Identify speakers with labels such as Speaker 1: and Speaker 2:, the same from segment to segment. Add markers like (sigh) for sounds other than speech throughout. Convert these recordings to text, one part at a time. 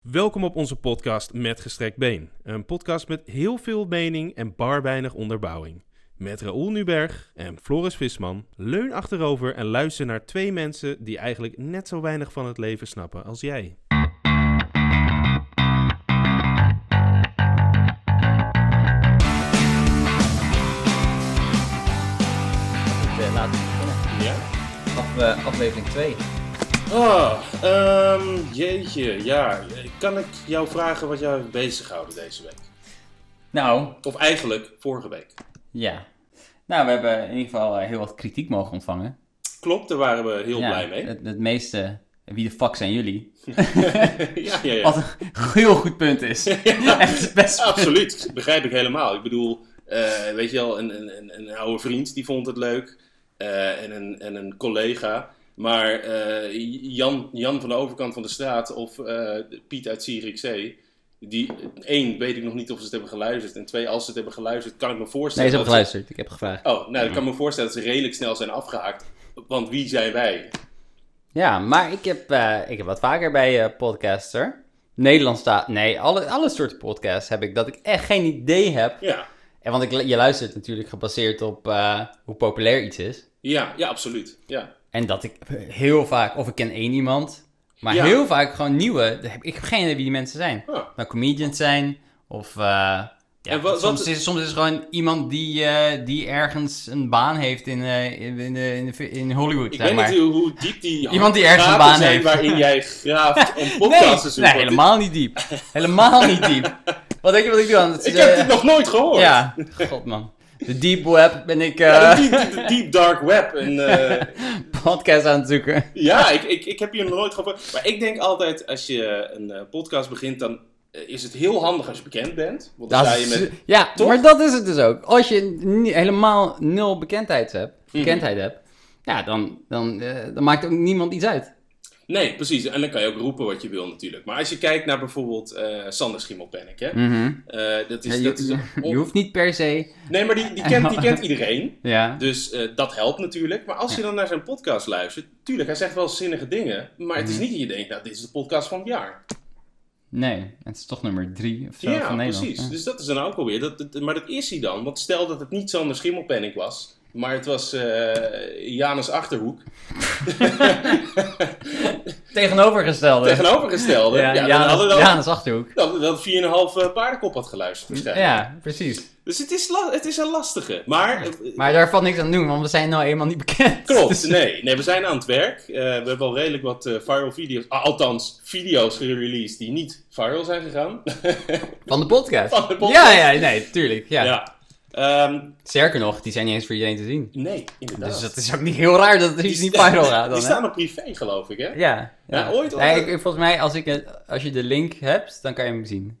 Speaker 1: Welkom op onze podcast Met Gestrekt Been. Een podcast met heel veel mening en bar weinig onderbouwing. Met Raoul Nuberg en Floris Visman. Leun achterover en luister naar twee mensen die eigenlijk net zo weinig van het leven snappen als jij.
Speaker 2: Goed, eh, laten we beginnen.
Speaker 1: Ja?
Speaker 2: Af, eh, aflevering 2.
Speaker 1: Ah, ehm, jeetje, ja. Kan ik jou vragen wat jou heeft bezighouden deze week?
Speaker 2: Nou,
Speaker 1: Of eigenlijk vorige week.
Speaker 2: ja. Nou, we hebben in ieder geval eh, heel wat kritiek mogen ontvangen.
Speaker 1: Klopt, daar waren we heel
Speaker 2: ja,
Speaker 1: blij mee.
Speaker 2: Het, het meeste, eh, wie de fuck zijn
Speaker 1: (laughs)
Speaker 2: jullie?
Speaker 1: ja, ja, ja.
Speaker 2: Wat een (laughs) heel goed punt is. Echt (laughs) het beste punt.
Speaker 1: Absoluut, begrijp ik helemaal. Ik bedoel, eh, weet je wel, een, een, een, een oude vriend die vond het leuk eh, en, een, en een collega. Maar eh, Jan, Jan van de overkant van de straat of eh, Piet uit Zierikzee, die één, weet ik nog niet of ze het hebben geluisterd. En twee, als ze het hebben geluisterd, kan ik me
Speaker 2: Nee,
Speaker 1: voorstellen...
Speaker 2: ze hebben
Speaker 1: dat
Speaker 2: geluisterd. Ik heb gevraagd.
Speaker 1: Oh, nou, ik kan me voorstellen dat ze redelijk snel zijn afgehaakt. Want wie zijn wij?
Speaker 2: Ja, maar ik heb, eh, ik heb wat vaker bij eh podcasts, hoor. Nederlands staat... Nee, alle, alle soorten podcasts heb ik dat ik echt geen idee heb.
Speaker 1: Ja,
Speaker 2: En want ik, je luistert natuurlijk gebaseerd op eh, hoe populair iets is.
Speaker 1: ja, ja absoluut. Ja.
Speaker 2: En dat ik heel vaak, of ik ken één iemand, maar
Speaker 1: Ja.
Speaker 2: heel vaak gewoon nieuwe. daar heb- Ik heb geen idee wie die mensen zijn.
Speaker 1: Ah.
Speaker 2: Nou, comedians zijn, of... eh, ja,
Speaker 1: En wat-
Speaker 2: soms,
Speaker 1: wat-
Speaker 2: Is, soms is het gewoon iemand die, eh, die ergens een baan heeft in, eh, in, in, in, in Hollywood,
Speaker 1: Ik
Speaker 2: zeg
Speaker 1: weet
Speaker 2: maar.
Speaker 1: niet hoe- hoe diep die
Speaker 2: Iemand die ergens een
Speaker 1: gaten
Speaker 2: baan
Speaker 1: zijn
Speaker 2: heeft.
Speaker 1: waarin jij
Speaker 2: (laughs)
Speaker 1: graaft om
Speaker 2: Nee,
Speaker 1: podcasts te
Speaker 2: nee,
Speaker 1: zoeken.
Speaker 2: helemaal niet diep. Helemaal niet
Speaker 1: (laughs)
Speaker 2: diep. Wat denk je wat ik doe? aan het-
Speaker 1: Ik heb
Speaker 2: eh,
Speaker 1: dit nog nooit gehoord.
Speaker 2: Ja, god man. De deep web ben ik eh,
Speaker 1: Ja, de deep, de deep dark web. En,
Speaker 2: (laughs)
Speaker 1: eh,
Speaker 2: podcast aan het zoeken.
Speaker 1: ja, ik, ik, ik heb hier nog nooit gehoord. Maar ik denk altijd, als je een eh, podcast begint, dan eh, is het heel handig als je bekend bent. Want dan
Speaker 2: Dat
Speaker 1: sta je
Speaker 2: is-
Speaker 1: met...
Speaker 2: ja,
Speaker 1: Toch?
Speaker 2: maar dat is het dus ook. Als je ni- helemaal nul bekendheid hebt,
Speaker 1: Mhm.
Speaker 2: bekendheid hebt ja, dan, dan, eh, dan maakt ook niemand iets uit.
Speaker 1: Nee, precies. En dan kan je ook roepen wat je wil natuurlijk. Maar als je kijkt naar bijvoorbeeld eh Sander Schimmelpennink, hè. Eh, dat
Speaker 2: Mhm. Ja,
Speaker 1: is,
Speaker 2: je,
Speaker 1: dat is
Speaker 2: (laughs)
Speaker 1: een-
Speaker 2: je- je hoeft niet per se.
Speaker 1: Nee, maar die, die, kent, die
Speaker 2: (laughs)
Speaker 1: kent iedereen.
Speaker 2: Ja,
Speaker 1: Dus eh, dat helpt natuurlijk. Maar als je dan naar zijn podcast luistert, tuurlijk, hij zegt wel zinnige dingen. Maar het is
Speaker 2: Mhm.
Speaker 1: niet dat je denkt, nou, dit is de podcast van het jaar.
Speaker 2: nee, het is toch nummer drie of zo
Speaker 1: ja,
Speaker 2: van Nederland.
Speaker 1: precies.
Speaker 2: ja.
Speaker 1: Dus dat is dan ook alweer. Dat, dat- maar dat is hij dan. Want stel dat het niet Sander Schimmelpenning was, maar het was eh Janus
Speaker 2: (laughs)
Speaker 1: Achterhoek.
Speaker 2: Tegenovergestelde.
Speaker 1: Tegenovergestelde.
Speaker 2: ja,
Speaker 1: Dus- Ja,
Speaker 2: ja,
Speaker 1: dan hadden we dan-
Speaker 2: Janus Achterhoek.
Speaker 1: dat, dat 4,5 eh, paardenkop had geluisterd waarschijnlijk.
Speaker 2: Ja, precies.
Speaker 1: Dus het is, la- het is een lastige. Maar, eh, eh,
Speaker 2: Maar daar valt niks aan te doen, want we zijn nou eenmaal niet bekend.
Speaker 1: klopt,
Speaker 2: (laughs) Dus-
Speaker 1: nee. nee. We zijn aan het werk. Eh, we hebben al redelijk wat eh, viral video's, ah, althans video's gereleased die niet viral zijn gegaan. (laughs)
Speaker 2: Van de podcast.
Speaker 1: Van de podcast.
Speaker 2: Ja, ja, nee, tuurlijk. Ja.
Speaker 1: Ja. Ehm,
Speaker 2: Sterker nog, die zijn niet eens voor iedereen te zien.
Speaker 1: nee, inderdaad.
Speaker 2: Dus dat is ook niet heel raar dat het iets niet
Speaker 1: sta-
Speaker 2: viral gaat. Dan,
Speaker 1: Die
Speaker 2: hè?
Speaker 1: staan op privé, geloof ik, hè?
Speaker 2: Ja,
Speaker 1: Ja, ooit
Speaker 2: Nee,
Speaker 1: altijd.
Speaker 2: ik- ik- volgens mij, als, ik, het- als je de link hebt, dan kan je hem zien.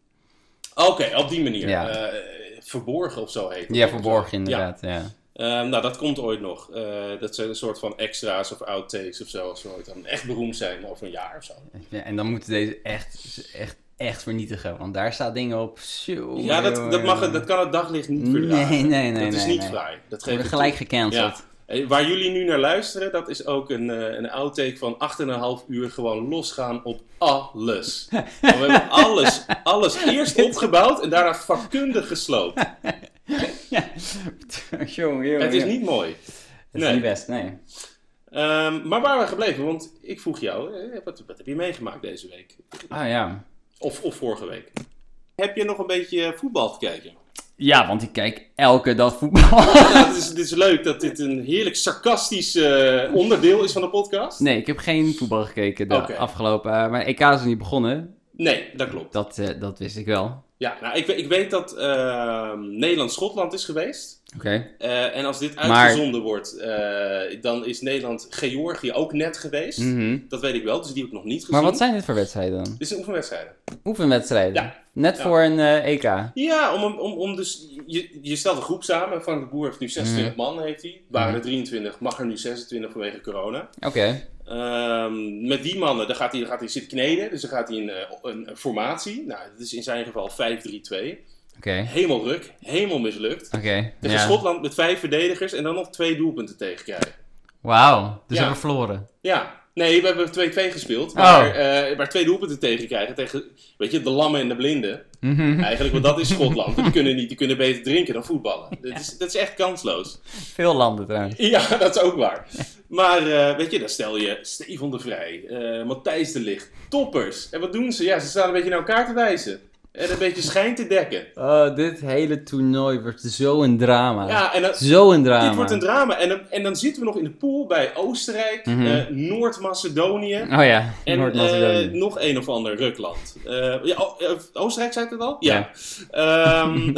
Speaker 1: Oké, op die manier.
Speaker 2: Ja.
Speaker 1: Eh, verborgen of zo heet het.
Speaker 2: Ja, verborgen inderdaad. Ja.
Speaker 1: Ehm, nou, dat komt ooit nog. Eh, dat zijn een soort van extra's of outtakes of zo. Als we ooit dan echt beroemd zijn over een jaar of zo.
Speaker 2: Ja, en dan moeten deze echt, echt, echt vernietigen, want daar staat dingen op. Zo,
Speaker 1: ja, dat, dat, mag, het- dat kan het daglicht niet verdragen.
Speaker 2: Nee, nee, nee,
Speaker 1: Dat is
Speaker 2: nee,
Speaker 1: niet
Speaker 2: nee.
Speaker 1: vrij. Dat geef
Speaker 2: worden
Speaker 1: ik
Speaker 2: gelijk
Speaker 1: toe.
Speaker 2: gecanceld.
Speaker 1: Ja. Eh, Waar jullie nu naar luisteren, dat is ook een, eh, een outtake van 8,5 uur gewoon losgaan op
Speaker 2: (laughs)
Speaker 1: alles. Want We hebben alles, alles eerst opgebouwd en daarna vakkundig gesloopt.
Speaker 2: Ja. (laughs) Jongen, jongen,
Speaker 1: Het is
Speaker 2: jongen.
Speaker 1: niet mooi.
Speaker 2: Het is
Speaker 1: nee.
Speaker 2: niet best, nee.
Speaker 1: Ehm, maar waar we gebleven, want ik vroeg jou, eh, wat, wat heb je meegemaakt deze week?
Speaker 2: Ah ja.
Speaker 1: Of, of vorige week? Heb je nog een beetje eh, voetbal te (laughs) kijken?
Speaker 2: Ja, want ik kijk elke dag voetbal. (laughs)
Speaker 1: Nou, het, is, het is leuk dat dit een heerlijk sarcastisch eh, onderdeel is van de podcast.
Speaker 2: Nee, ik heb geen voetbal gekeken de
Speaker 1: Oké.
Speaker 2: afgelopen... eh, maar EK is nog niet begonnen.
Speaker 1: Nee, dat klopt.
Speaker 2: Dat, eh, dat wist ik wel. Oké.
Speaker 1: Ja, nou, ik, we- ik weet dat ehm, Nederland-Schotland is geweest. Eh, en als dit
Speaker 2: Maar-
Speaker 1: uitgezonden wordt, eh, dan is Nederland-Georgië ook net geweest.
Speaker 2: Mhm.
Speaker 1: Dat weet ik wel, dus die heb ik nog niet gezien.
Speaker 2: Maar wat zijn dit voor wedstrijden dan?
Speaker 1: Dit is een oefenwedstrijd.
Speaker 2: Oefenwedstrijden?
Speaker 1: Ja.
Speaker 2: Net
Speaker 1: Ja.
Speaker 2: voor een eh, EK.
Speaker 1: Ja, om, om, om dus, je, je stelt een groep samen. Frank de Boer heeft nu 26 man, heeft hij. Waren er 23, mag er nu 26 vanwege corona.
Speaker 2: Oké.
Speaker 1: Ehm, met die mannen, dan gaat hij, dan gaat hij zitten kneden. Dus dan gaat hij een, eh, een, een formatie. Nou, dat is in zijn geval 5-3-2.
Speaker 2: Oké.
Speaker 1: Helemaal ruk, helemaal mislukt.
Speaker 2: Oké.
Speaker 1: Tegen Schotland met vijf verdedigers en dan nog twee doelpunten tegenkrijgen.
Speaker 2: Wauw. Dus
Speaker 1: Ja.
Speaker 2: hebben we verloren.
Speaker 1: Ja, Nee, we hebben 2-2 gespeeld.
Speaker 2: Oh.
Speaker 1: Maar, eh, maar twee doelpunten tegen krijgen. Tegen, weet je, de lammen en de blinden.
Speaker 2: Mhm.
Speaker 1: Eigenlijk, want dat is Schotland. Die kunnen, niet, die kunnen beter drinken dan voetballen. Dat, is, dat is echt kansloos.
Speaker 2: Veel landen trouwens.
Speaker 1: Ja, dat is ook waar. Maar eh, weet je, dan stel je Stefan de Vrij, eh, Matthijs de Ligt, toppers. En wat doen ze? Ja, ze staan een beetje naar elkaar te wijzen. En een beetje schijn te dekken.
Speaker 2: Oh, dit hele toernooi wordt zo een drama.
Speaker 1: Ja, en dan,
Speaker 2: Zo een drama.
Speaker 1: dit wordt een drama. En, dan- en dan zitten we nog in de pool bij Oostenrijk,
Speaker 2: Mhm.
Speaker 1: eh, Noord-Macedonië.
Speaker 2: Oh ja,
Speaker 1: En
Speaker 2: Noord-Macedonië.
Speaker 1: eh, nog een of ander rukland. Eh, ja, O- eh, Oostenrijk zei ik het al?
Speaker 2: Ja.
Speaker 1: Ja.
Speaker 2: (laughs)
Speaker 1: Ehm,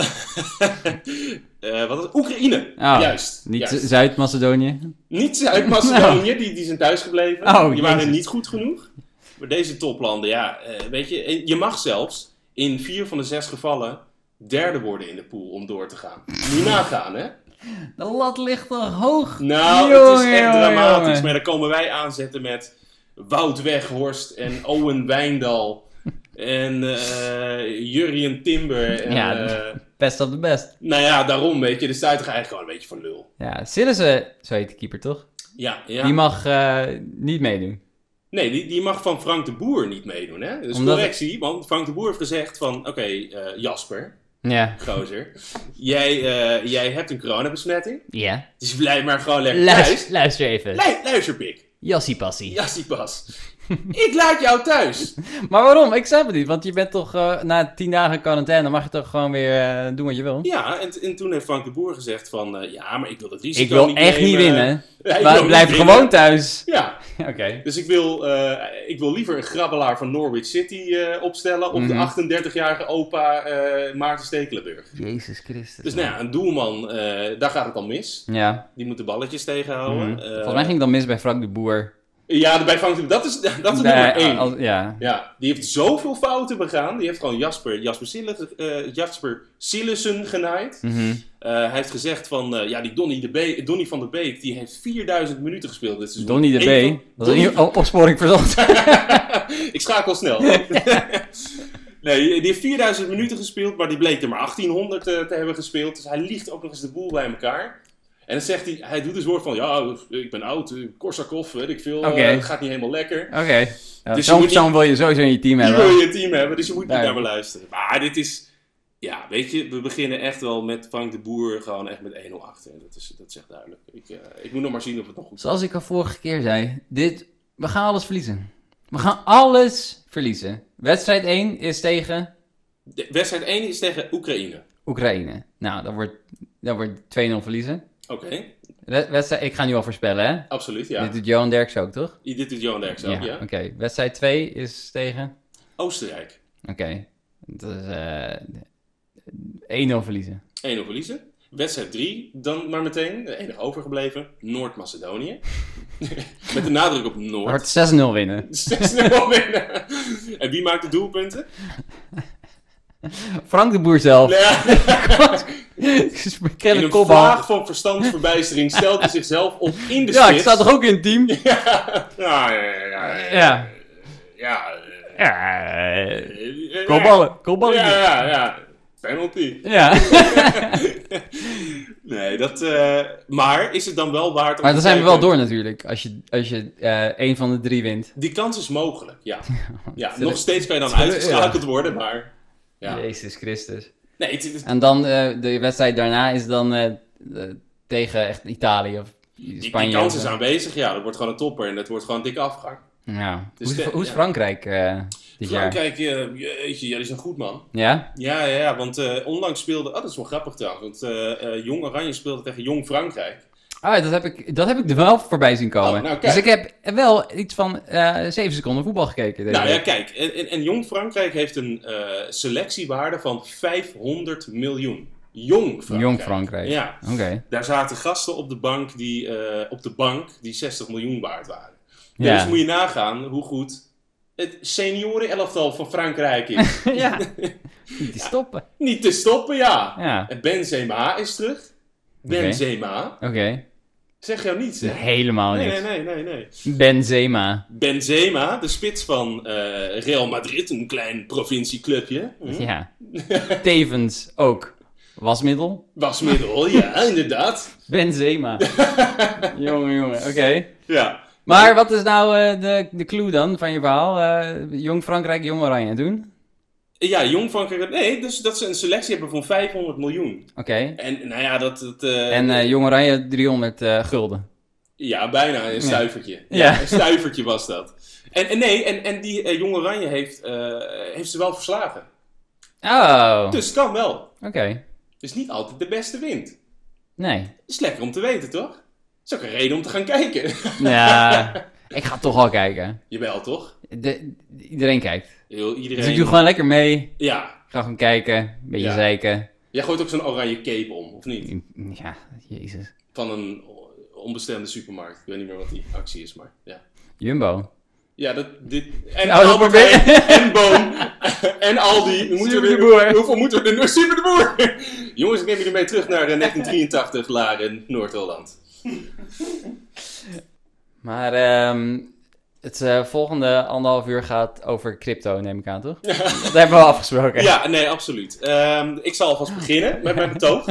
Speaker 1: eh, wat is het? Oekraïne.
Speaker 2: Oh,
Speaker 1: juist.
Speaker 2: Niet
Speaker 1: juist.
Speaker 2: Zuid-Macedonië.
Speaker 1: Niet
Speaker 2: (laughs)
Speaker 1: Zuid-Macedonië, die, die zijn thuisgebleven.
Speaker 2: Oh,
Speaker 1: die waren
Speaker 2: jezus.
Speaker 1: niet goed genoeg. Maar deze toplanden, ja, eh, weet je, en je mag zelfs in vier van de zes gevallen derde worden in de pool om door te gaan. Niet nagaan, hè?
Speaker 2: De lat ligt toch hoog?
Speaker 1: Nou, het is
Speaker 2: Jongen,
Speaker 1: echt
Speaker 2: jongen,
Speaker 1: dramatisch.
Speaker 2: jongen.
Speaker 1: Maar dan komen wij aanzetten met Wout Weghorst en Owen Wijndal. En eh Jurien Timber. En,
Speaker 2: Ja,
Speaker 1: eh,
Speaker 2: Best of the best.
Speaker 1: nou ja, daarom, weet je. Dus daar toch eigenlijk gewoon een beetje van lul.
Speaker 2: Ja, Sillissen, zo heet de keeper toch?
Speaker 1: Ja, ja.
Speaker 2: Die mag eh, niet meedoen.
Speaker 1: Nee, die, die mag van Frank de Boer niet meedoen, hè? Dus
Speaker 2: Omdat-
Speaker 1: correctie, want Frank de Boer heeft gezegd van... Oké, eh, Jasper,
Speaker 2: Ja.
Speaker 1: gozer. jij, eh, jij hebt een coronabesmetting.
Speaker 2: Ja.
Speaker 1: Dus blijf maar gewoon lekker thuis.
Speaker 2: Luister, luister even.
Speaker 1: Lu- Luister, pik.
Speaker 2: Jassie passie.
Speaker 1: Jassie pas. Ik laat jou thuis.
Speaker 2: Maar waarom? Ik snap het niet. Want je bent toch eh, na tien dagen quarantaine, mag je toch gewoon weer eh, doen wat je wil?
Speaker 1: Ja, en, en toen heeft Frank de Boer gezegd van... eh, ja, maar ik wil het risico
Speaker 2: ik wil
Speaker 1: niet
Speaker 2: echt niet
Speaker 1: nemen. (laughs)
Speaker 2: winnen.
Speaker 1: Ja, ik wil
Speaker 2: Maar
Speaker 1: niet
Speaker 2: blijf
Speaker 1: winnen.
Speaker 2: gewoon
Speaker 1: (laughs)
Speaker 2: thuis.
Speaker 1: Ja,
Speaker 2: Oké.
Speaker 1: dus ik wil, eh, ik wil liever een grabbelaar van Norwich City eh, opstellen... op
Speaker 2: Mhm.
Speaker 1: de 38-jarige opa eh, Maarten Stekelenburg.
Speaker 2: Jezus Christus.
Speaker 1: Dus nou ja, een doelman, eh, daar gaat het dan mis.
Speaker 2: Ja.
Speaker 1: Die moet de balletjes tegenhouden.
Speaker 2: Mhm.
Speaker 1: Eh,
Speaker 2: Volgens mij ging het dan mis bij Frank de Boer.
Speaker 1: Ja, bij Frank de Boer, dat is, (laughs) dat is
Speaker 2: Nee, oh,
Speaker 1: nummer één.
Speaker 2: als- ja.
Speaker 1: Ja, die heeft zoveel fouten begaan. Die heeft gewoon Jasper, Jasper, Sillis, eh, Jasper Sillissen genaaid.
Speaker 2: Mhm.
Speaker 1: Eh, hij heeft gezegd van, eh, ja, die Donny, de Be- Donny van de Beek, die heeft 4000 minuten gespeeld dit seizoen.
Speaker 2: Donny de
Speaker 1: Ik-
Speaker 2: B. Dat is een o- opsporing
Speaker 1: (laughs)
Speaker 2: verzocht.
Speaker 1: Ik schakel
Speaker 2: (laughs)
Speaker 1: snel. nee, die heeft 4000 minuten gespeeld, maar die bleek er maar 1800 eh, te hebben gespeeld. Dus hij liegt ook nog eens de boel bij elkaar. En dan zegt hij, hij doet dus woord van, ja, ik ben oud, eh, Korsakov, weet ik veel, eh,
Speaker 2: Oké.
Speaker 1: het gaat niet helemaal lekker.
Speaker 2: Oké. Ja,
Speaker 1: Dus je
Speaker 2: Zo'n
Speaker 1: moet
Speaker 2: persoon wil je sowieso in je team
Speaker 1: Die wil
Speaker 2: hebben.
Speaker 1: je in het team hebben, dus je moet niet
Speaker 2: Nee.
Speaker 1: naar me luisteren. Maar dit is, ja, weet je, we beginnen echt wel met Frank de Boer, gewoon echt met 1-0 achter. En Dat is, dat is echt duidelijk. Ik, eh, ik moet nog maar zien of het nog goed
Speaker 2: Zoals ik al vorige keer zei, dit, we gaan alles verliezen. We gaan alles verliezen. Wedstrijd 1 is tegen
Speaker 1: De wedstrijd 1 is tegen Oekraïne.
Speaker 2: Oekraïne. Nou, dan wordt, dan wordt 2-0 verliezen.
Speaker 1: Oké,
Speaker 2: Wed- Wedstrijd, ik ga nu al voorspellen, hè?
Speaker 1: absoluut, ja.
Speaker 2: Dit doet Johan Derks ook, toch?
Speaker 1: I- Dit doet Johan Derksen ook, ja.
Speaker 2: Oké, wedstrijd 2 is tegen.
Speaker 1: Oostenrijk, 1-0
Speaker 2: Oké, dat is eh 1-0 verliezen.
Speaker 1: verliezen. Wedstrijd 3, dan maar meteen, de enige overgebleven, Noord-Macedonië. (laughs) Met de nadruk op Noord. (laughs)
Speaker 2: Wordt 6-0 winnen.
Speaker 1: 6-0 winnen. En wie maakt de doelpunten?
Speaker 2: Frank de Boer zelf. (laughs)
Speaker 1: Nou ja,
Speaker 2: ik
Speaker 1: in
Speaker 2: ken
Speaker 1: een
Speaker 2: een kopbal.
Speaker 1: vraag van verstandsverbijstering stelt hij zichzelf op in de
Speaker 2: Ja, ik
Speaker 1: spits.
Speaker 2: sta toch ook in het team? Ja.
Speaker 1: Ja, ja, ja, ja.
Speaker 2: Ja.
Speaker 1: ja, eh,
Speaker 2: eh,
Speaker 1: eh, eh,
Speaker 2: Kopballen. Kopballen.
Speaker 1: Ja,
Speaker 2: Ja.
Speaker 1: ja, ja. Penalty. (laughs) Nee, dat... eh, maar is het dan wel waard om
Speaker 2: Maar
Speaker 1: te
Speaker 2: dan zijn we wel
Speaker 1: kijken?
Speaker 2: door natuurlijk. Als je, als je eh één van de drie wint.
Speaker 1: Die kans is mogelijk,
Speaker 2: (laughs)
Speaker 1: ja. ja
Speaker 2: Zullen-
Speaker 1: nog steeds
Speaker 2: (laughs)
Speaker 1: kan je dan
Speaker 2: zullen-
Speaker 1: uitgeschakeld worden, maar... Ja.
Speaker 2: Jezus Christus.
Speaker 1: Nee, het, het-
Speaker 2: En dan eh, de wedstrijd daarna is dan eh, eh, tegen echt Italië of
Speaker 1: die,
Speaker 2: Spanje.
Speaker 1: die kans
Speaker 2: of
Speaker 1: is
Speaker 2: zo.
Speaker 1: aanwezig, ja. Dat wordt gewoon een topper en dat wordt gewoon dik afgang.
Speaker 2: Ja.
Speaker 1: Dus
Speaker 2: hoe, is-
Speaker 1: de-
Speaker 2: hoe is
Speaker 1: ja.
Speaker 2: Frankrijk eh, dit jaar?
Speaker 1: Frankrijk, eh, jeetje, ja, die is een goed man.
Speaker 2: Ja?
Speaker 1: Ja, ja, ja want eh, onlangs speelde... Oh, dat is wel grappig trouwens. Want eh, eh, Jong Oranje speelde tegen Jong Frankrijk.
Speaker 2: Ah, dat heb ik, dat heb ik er wel voorbij zien komen.
Speaker 1: Oh, nou,
Speaker 2: dus
Speaker 1: kijk.
Speaker 2: ik heb wel iets van eh 7 seconden voetbal gekeken. Deze
Speaker 1: Nou ja,
Speaker 2: week.
Speaker 1: kijk. En, en, en Jong Frankrijk heeft een eh, selectiewaarde van 500 miljoen. Jong Frankrijk.
Speaker 2: Jong Frankrijk.
Speaker 1: Ja.
Speaker 2: Oké. (laughs)
Speaker 1: Daar zaten gasten op de bank die, eh, op de bank die 60 miljoen waard waren.
Speaker 2: Ja.
Speaker 1: Dus moet je nagaan hoe goed het senioren-elftal van Frankrijk
Speaker 2: (laughs)
Speaker 1: is.
Speaker 2: ja. Niet te stoppen.
Speaker 1: Niet te stoppen, ja.
Speaker 2: Ja.
Speaker 1: En Benzema is terug. Benzema.
Speaker 2: Oké.
Speaker 1: Zeg jou niets, hè?
Speaker 2: Helemaal
Speaker 1: Nee,
Speaker 2: niks.
Speaker 1: nee, nee, nee, nee.
Speaker 2: Benzema.
Speaker 1: Benzema, de spits van eh, Real Madrid, een klein provincieclubje. Hm? (laughs)
Speaker 2: Ja. Tevens ook wasmiddel.
Speaker 1: Was middel, ja, (laughs) inderdaad. (laughs)
Speaker 2: Benzema. jongen, jongen. Oké.
Speaker 1: Ja.
Speaker 2: Maar wat is nou eh, de, de clue dan van je verhaal? Eh, jong Frankrijk, jong Oranje doen?
Speaker 1: Ja, Jong Frankrijk. Nee, dus dat ze een selectie hebben van 500 miljoen.
Speaker 2: Oké.
Speaker 1: En nou ja, dat. dat eh,
Speaker 2: En eh, jong Oranje 300 eh, gulden.
Speaker 1: Ja, bijna een stuivertje. Ja.
Speaker 2: (laughs) Ja.
Speaker 1: een stuivertje was dat. En, en nee, en, en die eh, Jong Oranje heeft, eh, heeft ze wel verslagen.
Speaker 2: Oh, oké.
Speaker 1: Dus het kan wel. Dus niet altijd de beste wint.
Speaker 2: Nee.
Speaker 1: Is lekker om te weten, toch? Is ook een reden om te gaan kijken. (laughs)
Speaker 2: Ja, ik ga toch al kijken.
Speaker 1: Jawel, toch?
Speaker 2: De- iedereen kijkt.
Speaker 1: Heel,
Speaker 2: Dus ik
Speaker 1: iedereen.
Speaker 2: doe gewoon lekker mee.
Speaker 1: Ja.
Speaker 2: Ik ga gewoon kijken. Een beetje
Speaker 1: Ja.
Speaker 2: zeiken.
Speaker 1: Jij gooit ook zo'n oranje cape om, of niet?
Speaker 2: Ja, jezus.
Speaker 1: Van een onbestemde supermarkt. Ik weet niet meer wat die actie is, maar ja.
Speaker 2: Jumbo.
Speaker 1: Ja, dat,
Speaker 2: (laughs)
Speaker 1: dit, en
Speaker 2: Nou, dat
Speaker 1: Albert
Speaker 2: probeer-
Speaker 1: Heijn,
Speaker 2: (laughs)
Speaker 1: en Boom, en Aldi. We Moeten we
Speaker 2: Super de
Speaker 1: weer-
Speaker 2: Boer.
Speaker 1: Hoeveel moeten we (laughs) er... Super de Boer! Jongens, ik neem jullie mee terug naar eh, 1983, Laren, Noord-Holland.
Speaker 2: Maar ehm, het eh, volgende anderhalf uur gaat over crypto, neem ik aan,
Speaker 1: (laughs)
Speaker 2: toch? Dat hebben we afgesproken.
Speaker 1: Ja, nee, absoluut. Ehm, ik zal alvast beginnen met mijn betoog.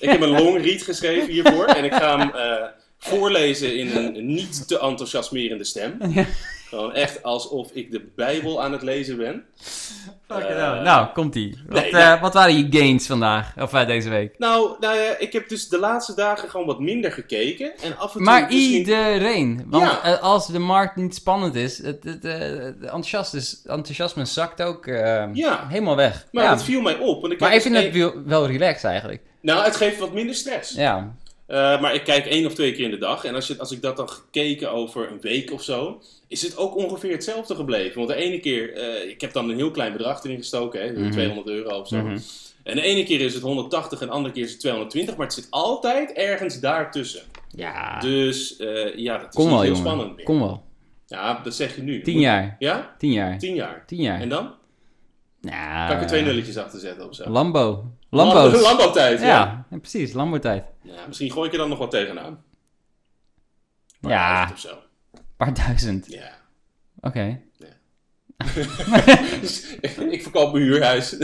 Speaker 1: Ik heb een long read geschreven hiervoor en ik ga hem eh, voorlezen in een niet te enthousiasmerende stem.
Speaker 2: (laughs) Ja.
Speaker 1: Gewoon echt alsof ik de Bijbel aan het lezen ben.
Speaker 2: Fucking
Speaker 1: Eh,
Speaker 2: hell. nou, komt-ie. Wat,
Speaker 1: nee,
Speaker 2: eh,
Speaker 1: ja.
Speaker 2: wat waren je gains vandaag? Of eh, deze week?
Speaker 1: Nou, nou ja, ik heb dus de laatste dagen gewoon wat minder gekeken. En af en toe
Speaker 2: Maar
Speaker 1: misschien-
Speaker 2: iedereen. Want
Speaker 1: Ja.
Speaker 2: eh, als de markt niet spannend is, het, het, eh, het enthousiast is- enthousiasme zakt ook eh,
Speaker 1: Ja.
Speaker 2: helemaal weg.
Speaker 1: Maar
Speaker 2: ja.
Speaker 1: dat viel mij op. Want ik
Speaker 2: maar
Speaker 1: kijk
Speaker 2: ik vind
Speaker 1: dus
Speaker 2: het
Speaker 1: één-
Speaker 2: wel- wel relaxed eigenlijk.
Speaker 1: Nou, het geeft wat minder stress.
Speaker 2: Ja.
Speaker 1: Eh, maar ik kijk één of twee keer in de dag. En als, je, als ik dat dan gekeken over een week of zo, is het ook ongeveer hetzelfde gebleven. Want de ene keer, eh, ik heb dan een heel klein bedrag erin gestoken, hè,
Speaker 2: Mhm.
Speaker 1: 200 euro of zo.
Speaker 2: Mhm.
Speaker 1: En de ene keer is het 180 en de andere keer is het 220. Maar het zit altijd ergens daartussen.
Speaker 2: Ja.
Speaker 1: Dus eh, ja, dat is
Speaker 2: Ah. Kom
Speaker 1: niet
Speaker 2: wel,
Speaker 1: heel
Speaker 2: jongen.
Speaker 1: spannend meer.
Speaker 2: Kom wel.
Speaker 1: Ja, dat zeg je nu.
Speaker 2: Tien
Speaker 1: Moet-
Speaker 2: jaar.
Speaker 1: Ja?
Speaker 2: Tien jaar.
Speaker 1: Tien jaar.
Speaker 2: Tien jaar.
Speaker 1: En dan?
Speaker 2: Nou,
Speaker 1: Kan ik er twee nulletjes achter zetten of zo?
Speaker 2: Lambo.
Speaker 1: (laughs)
Speaker 2: Lambo's.
Speaker 1: Lambo-tijd,
Speaker 2: ja.
Speaker 1: ja.
Speaker 2: ja, precies. Lambo-tijd.
Speaker 1: Ja, misschien gooi ik er dan nog wat tegenaan. Maar
Speaker 2: Ja,
Speaker 1: duizend Of zo.
Speaker 2: een paar duizend.
Speaker 1: Ja.
Speaker 2: Oké.
Speaker 1: Dus, ik verkoop mijn huurhuis. (laughs)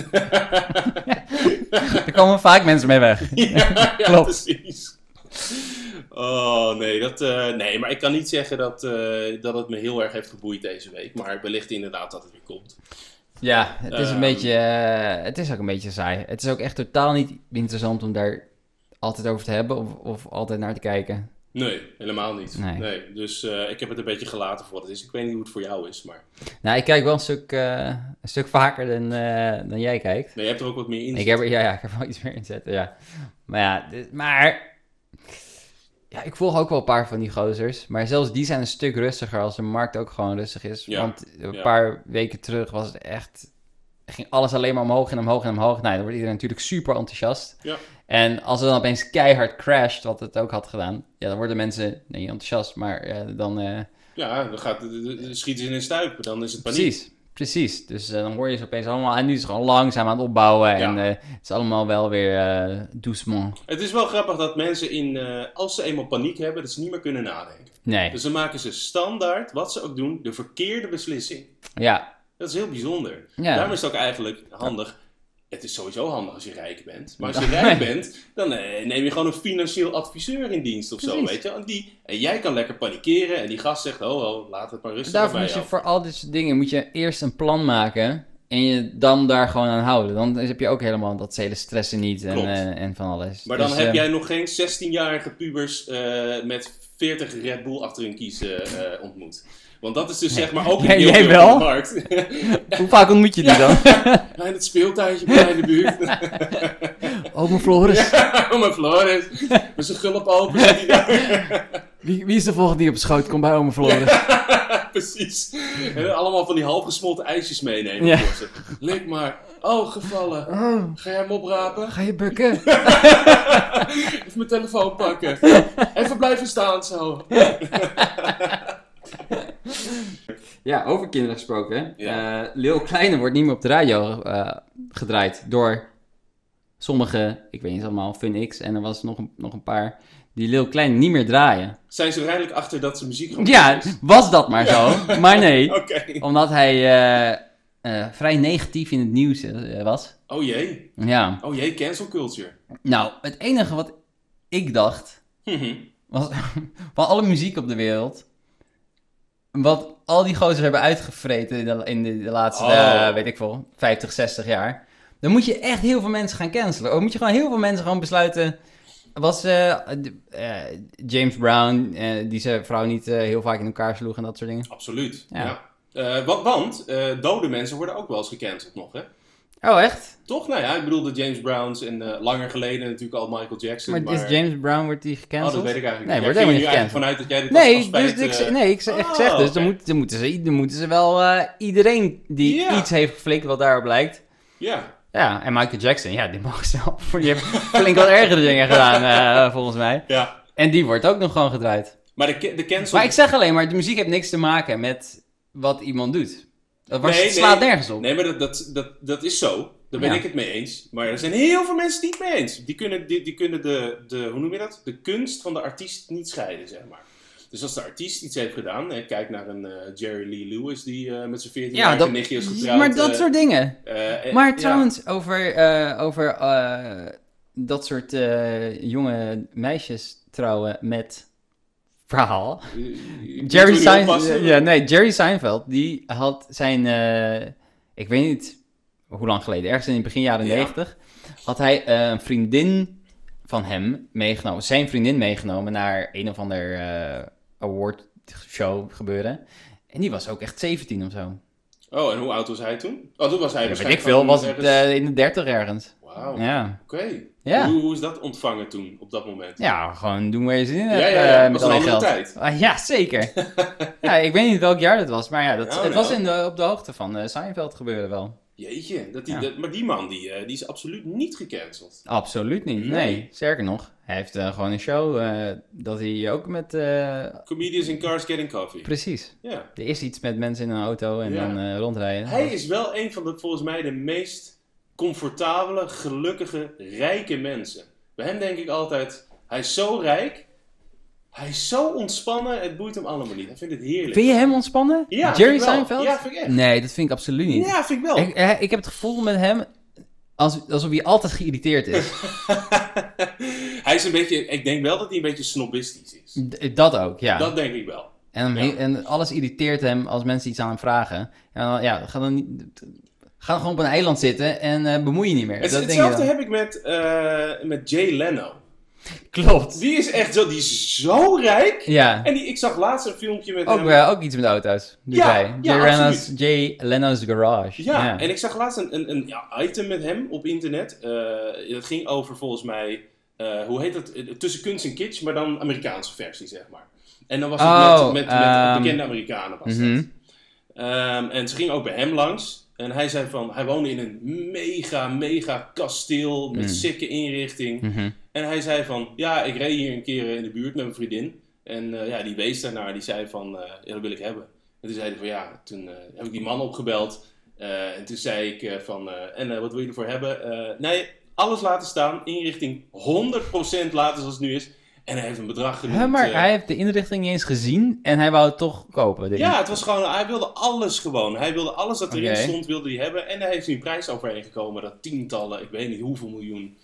Speaker 2: Daar komen vaak mensen mee weg.
Speaker 1: ja, ja,
Speaker 2: Klopt.
Speaker 1: precies. Oh nee, dat, eh, nee, maar ik kan niet zeggen dat, eh, dat het me heel erg heeft geboeid deze week. Maar wellicht inderdaad dat het weer komt.
Speaker 2: Ja, het is een
Speaker 1: Ehm.
Speaker 2: beetje. eh, het is ook een beetje saai. Het is ook echt totaal niet interessant om daar altijd over te hebben of, of altijd naar te kijken.
Speaker 1: Nee, helemaal niet.
Speaker 2: Nee.
Speaker 1: Nee. Dus eh, ik heb het een beetje gelaten voor wat het is. Ik weet niet hoe het voor jou is, maar
Speaker 2: Nou, ik kijk wel een stuk, eh, een stuk vaker dan, eh, dan jij kijkt.
Speaker 1: nee, je hebt er ook wat meer in.
Speaker 2: Ik heb, er- ja, ja, ik heb wel iets meer inzetten, ja. Maar ja, dit- maar... Ja, ik volg ook wel een paar van die gozers. Maar zelfs die zijn een stuk rustiger als de markt ook gewoon rustig is.
Speaker 1: Ja,
Speaker 2: Want een
Speaker 1: ja.
Speaker 2: paar weken terug was het echt... Ging alles alleen maar omhoog en omhoog en omhoog. Nou, dan wordt iedereen natuurlijk super enthousiast.
Speaker 1: Ja.
Speaker 2: En als het dan opeens keihard crasht, wat het ook had gedaan... Ja, dan worden mensen nee, niet enthousiast, maar eh, dan... eh,
Speaker 1: Ja, dan gaat, schieten ze in een stuip. Dan is het paniek.
Speaker 2: Precies, precies. Dus eh, dan hoor je ze opeens allemaal. En nu is het gewoon langzaam aan het opbouwen. En
Speaker 1: Ja.
Speaker 2: eh, het is allemaal wel weer eh doucement.
Speaker 1: Het is wel grappig dat mensen, in, eh, als ze eenmaal paniek hebben, dat ze niet meer kunnen nadenken.
Speaker 2: Nee,
Speaker 1: Dus dan maken ze standaard, wat ze ook doen, de verkeerde beslissing.
Speaker 2: ja.
Speaker 1: Dat is heel bijzonder.
Speaker 2: Ja.
Speaker 1: Daarom is het ook eigenlijk handig. Het is sowieso handig als je rijk bent. Maar
Speaker 2: (laughs)
Speaker 1: als je rijk bent, dan eh, neem je gewoon een financieel adviseur in dienst of zo.
Speaker 2: Precies.
Speaker 1: Weet je? En, die, en jij kan lekker panikeren. En die gast zegt, oh, oh laat het maar rustig
Speaker 2: Daarvoor
Speaker 1: bij
Speaker 2: moet je
Speaker 1: jou.
Speaker 2: voor al dit soort dingen moet je eerst een plan maken. En je dan daar gewoon aan houden. Dan heb je ook helemaal dat hele stressen niet en,
Speaker 1: Klopt.
Speaker 2: eh, en van alles.
Speaker 1: Maar dan
Speaker 2: Dus,
Speaker 1: heb
Speaker 2: eh,
Speaker 1: jij nog geen 16-jarige pubers eh, met 40 Red Bull achter hun kiezen eh, ontmoet. Want dat is dus zeg maar ook een
Speaker 2: Jij-
Speaker 1: heel
Speaker 2: jij
Speaker 1: deel
Speaker 2: wel?
Speaker 1: van de markt.
Speaker 2: (laughs)
Speaker 1: (laughs)
Speaker 2: Hoe vaak ontmoet je die dan?
Speaker 1: Ja, in het speeltuintje bij de
Speaker 2: (laughs)
Speaker 1: buurt.
Speaker 2: Oh, mijn Floris.
Speaker 1: Oh, mijn Floris.
Speaker 2: (laughs)
Speaker 1: Met zijn gulp open zit hij (laughs) daar.
Speaker 2: Wie, wie is de volgende die op schoot komt bij oma Floris?
Speaker 1: Precies. En allemaal van die halfgesmolten ijsjes meenemen.
Speaker 2: Ja.
Speaker 1: voor ze. Lik maar. Oh, gevallen. Ga jij hem oprapen?
Speaker 2: Ga je bukken?
Speaker 1: Even mijn telefoon
Speaker 2: (laughs)
Speaker 1: pakken. Even blijven staan zo.
Speaker 2: Ja, over kinderen gesproken.
Speaker 1: Ja.
Speaker 2: Eh Lil Kleine wordt niet meer op de radio eh, gedraaid door sommige, ik weet niet allemaal, Funix en er was nog een, nog een paar die Lil Kleine niet meer draaien.
Speaker 1: Zijn ze er eindelijk achter dat ze muziek gaan
Speaker 2: Ja,
Speaker 1: maken?
Speaker 2: was dat maar zo. (laughs) Maar nee,
Speaker 1: Oké.
Speaker 2: omdat hij eh, eh, vrij negatief in het nieuws eh, was.
Speaker 1: Oh jee.
Speaker 2: Ja,
Speaker 1: Oh jee, cancel culture.
Speaker 2: nou, het enige wat ik dacht
Speaker 1: Mhm.
Speaker 2: (laughs) was van alle muziek op de wereld wat al die gozers hebben uitgevreten in de, in de, de laatste,
Speaker 1: Oh.
Speaker 2: eh, weet ik veel, 50, 60 jaar. Dan moet je echt heel veel mensen gaan cancelen. Of moet je gewoon heel veel mensen gewoon besluiten... Was eh, de- eh, James Brown, eh, die zijn vrouw niet eh, heel vaak in elkaar sloeg en dat soort dingen?
Speaker 1: Absoluut.
Speaker 2: Ja.
Speaker 1: Ja. Eh, want want eh, dode mensen worden ook wel eens gecanceld nog, hè?
Speaker 2: Oh, echt?
Speaker 1: Toch? Nou ja, ik bedoel de James Browns en eh, langer geleden natuurlijk al Michael Jackson.
Speaker 2: Maar,
Speaker 1: Maar,
Speaker 2: is James Brown, wordt die
Speaker 1: Oh,
Speaker 2: gecanceld?
Speaker 1: dat weet ik eigenlijk
Speaker 2: Nee,
Speaker 1: niet.
Speaker 2: wordt
Speaker 1: Jij
Speaker 2: helemaal
Speaker 1: ging
Speaker 2: niet
Speaker 1: nu eigenlijk
Speaker 2: gecanceld.
Speaker 1: vanuit dat jij dit
Speaker 2: Nee,
Speaker 1: als afspraak,
Speaker 2: dus ik,
Speaker 1: eh,
Speaker 2: ze- nee, ik, ze- ik
Speaker 1: Oh,
Speaker 2: zeg dus, dan,
Speaker 1: oké.
Speaker 2: moet, dan, moeten ze, dan moeten ze wel eh, iedereen die
Speaker 1: Ja.
Speaker 2: iets heeft geflikt wat daarop lijkt.
Speaker 1: Ja,
Speaker 2: Ja, en Michael Jackson, ja, die mag (laughs) zelf. Die heeft flink wat ergere dingen gedaan, eh, volgens mij.
Speaker 1: ja.
Speaker 2: En die wordt ook nog gewoon gedraaid.
Speaker 1: Maar de, ca- de cancel...
Speaker 2: Maar ik zeg alleen maar, de muziek heeft niks te maken met wat iemand doet. Dat was,
Speaker 1: Nee,
Speaker 2: het slaat
Speaker 1: nee.
Speaker 2: nergens op.
Speaker 1: Nee, maar dat, dat, dat, dat is zo. Daar ben
Speaker 2: Ja.
Speaker 1: ik het mee eens. Maar er zijn heel veel mensen die het mee eens. Die kunnen, die, die kunnen de, de, hoe noem je dat? De kunst van de artiest niet scheiden, zeg maar. Dus als de artiest iets heeft gedaan, hè, kijk naar een eh, Jerry Lee Lewis die eh, met zijn 14
Speaker 2: ja,
Speaker 1: jaar
Speaker 2: dat,
Speaker 1: een nichtje is getrouwd.
Speaker 2: maar dat
Speaker 1: eh,
Speaker 2: soort dingen.
Speaker 1: eh, eh,
Speaker 2: Maar
Speaker 1: ja.
Speaker 2: trouwens, over, eh, over eh, dat soort eh, jonge meisjes trouwen met verhaal.
Speaker 1: Eh, ik moet er
Speaker 2: Jerry
Speaker 1: niet
Speaker 2: Seinfeld.
Speaker 1: oppassen.
Speaker 2: Ja, nee, Jerry Seinfeld, die had zijn. eh, ik weet niet hoe lang geleden, ergens in de begin jaren
Speaker 1: Ja.
Speaker 2: negentig. Had hij eh, een vriendin van hem meegenomen, zijn vriendin meegenomen naar een of ander eh award show gebeuren. En die was ook echt 17 of zo.
Speaker 1: Oh, en hoe oud was hij toen? Oh, toen was hij
Speaker 2: Ja, weet ik
Speaker 1: waarschijnlijk
Speaker 2: veel,
Speaker 1: gewoon
Speaker 2: was het
Speaker 1: ergens- Oh.
Speaker 2: eh, in de 30 ergens.
Speaker 1: Wauw,
Speaker 2: Ja.
Speaker 1: oké.
Speaker 2: Ja.
Speaker 1: Hoe, hoe is dat ontvangen toen, op dat moment?
Speaker 2: ja, gewoon doen waar je zin in
Speaker 1: Ja,
Speaker 2: hebt,
Speaker 1: ja, ja,
Speaker 2: eh,
Speaker 1: was
Speaker 2: met
Speaker 1: een
Speaker 2: al je
Speaker 1: andere
Speaker 2: geld.
Speaker 1: tijd.
Speaker 2: Ah, ja,
Speaker 1: (laughs)
Speaker 2: zeker. ja, ik weet niet welk jaar dat was, maar ja, dat,
Speaker 1: Nou,
Speaker 2: het was
Speaker 1: nou.
Speaker 2: in de, op de hoogte van eh Seinfeld gebeurde wel.
Speaker 1: Jeetje, dat die,
Speaker 2: Ja.
Speaker 1: dat- maar die man die, eh, die is absoluut niet gecanceld.
Speaker 2: Absoluut niet. Nee,
Speaker 1: Nee.
Speaker 2: sterker nog, hij heeft eh, gewoon een show eh, dat hij ook met. eh,
Speaker 1: Comedians in Cars Getting Coffee.
Speaker 2: precies.
Speaker 1: Ja.
Speaker 2: Er is iets met mensen in een auto en
Speaker 1: Ja.
Speaker 2: dan eh, rondrijden.
Speaker 1: Hij is wel een van de, volgens mij, de meest comfortabele, gelukkige, rijke mensen. Bij hem denk ik altijd, hij is zo rijk, hij is zo ontspannen, het boeit hem allemaal niet. Hij vindt het heerlijk.
Speaker 2: Vind je hem ontspannen?
Speaker 1: Ja,
Speaker 2: Jerry
Speaker 1: vind ik wel.
Speaker 2: Seinfeld?
Speaker 1: Ja, vind ik echt.
Speaker 2: Nee, dat vind ik absoluut niet.
Speaker 1: Ja, vind ik wel.
Speaker 2: Ik, eh, ik heb het gevoel met hem als, alsof hij altijd geïrriteerd
Speaker 1: (laughs)
Speaker 2: is.
Speaker 1: (laughs) hij is een beetje, ik denk wel dat hij een beetje snobistisch is.
Speaker 2: D- eh, dat ook, ja.
Speaker 1: Dat denk ik wel.
Speaker 2: En, hem-
Speaker 1: Ja.
Speaker 2: en alles irriteert hem als mensen iets aan hem vragen. En dan, ja, ga dan, niet, ga gewoon op een eiland zitten en eh bemoei je niet meer.
Speaker 1: Het,
Speaker 2: dat denk je
Speaker 1: hetzelfde
Speaker 2: dan.
Speaker 1: heb ik met, eh, met Jay Leno.
Speaker 2: Klopt.
Speaker 1: Die is echt zo, die is zo rijk.
Speaker 2: Ja.
Speaker 1: En die, ik zag laatst een filmpje met
Speaker 2: Ook,
Speaker 1: hem.
Speaker 2: eh, ook iets met auto's. Dus
Speaker 1: Ja,
Speaker 2: hij.
Speaker 1: ja,
Speaker 2: Jay,
Speaker 1: absoluut.
Speaker 2: Leno's, Jay Leno's Garage.
Speaker 1: Ja, en ik zag laatst een, een, een ja, item met hem op internet. Eh, dat ging over volgens mij, eh, hoe heet dat? Eh, Tussen kunst en kitsch, maar dan Amerikaanse versie, zeg maar. En dan was het
Speaker 2: Oh,
Speaker 1: met, met, met
Speaker 2: ehm,
Speaker 1: bekende Amerikanen was
Speaker 2: mhm.
Speaker 1: dat. Ehm, en ze ging ook bij hem langs. En hij zei van, hij woonde in een mega, mega kasteel met
Speaker 2: Mm.
Speaker 1: sikke inrichting.
Speaker 2: Mhm.
Speaker 1: En hij zei van, ja, ik reed hier een keer eh, in de buurt met mijn vriendin. En eh, ja, die wees daarnaar, die zei van, eh, ja, dat wil ik hebben. En toen zei hij van, ja, toen eh, heb ik die man opgebeld. Eh, en toen zei ik eh, van, eh, en eh, wat wil je ervoor hebben? Eh, nee, alles laten staan, inrichting 100% laten zoals het nu is. En hij heeft een bedrag genoemd.
Speaker 2: Hè, maar
Speaker 1: eh,
Speaker 2: hij heeft de inrichting niet eens gezien en hij wou het toch kopen. denk ik.
Speaker 1: ja, het was gewoon, hij wilde alles gewoon. Hij wilde alles dat erin
Speaker 2: Oké.
Speaker 1: stond, wilde hij hebben. En daar heeft hij een prijs overheen gekomen. Dat tientallen, ik weet niet hoeveel miljoen.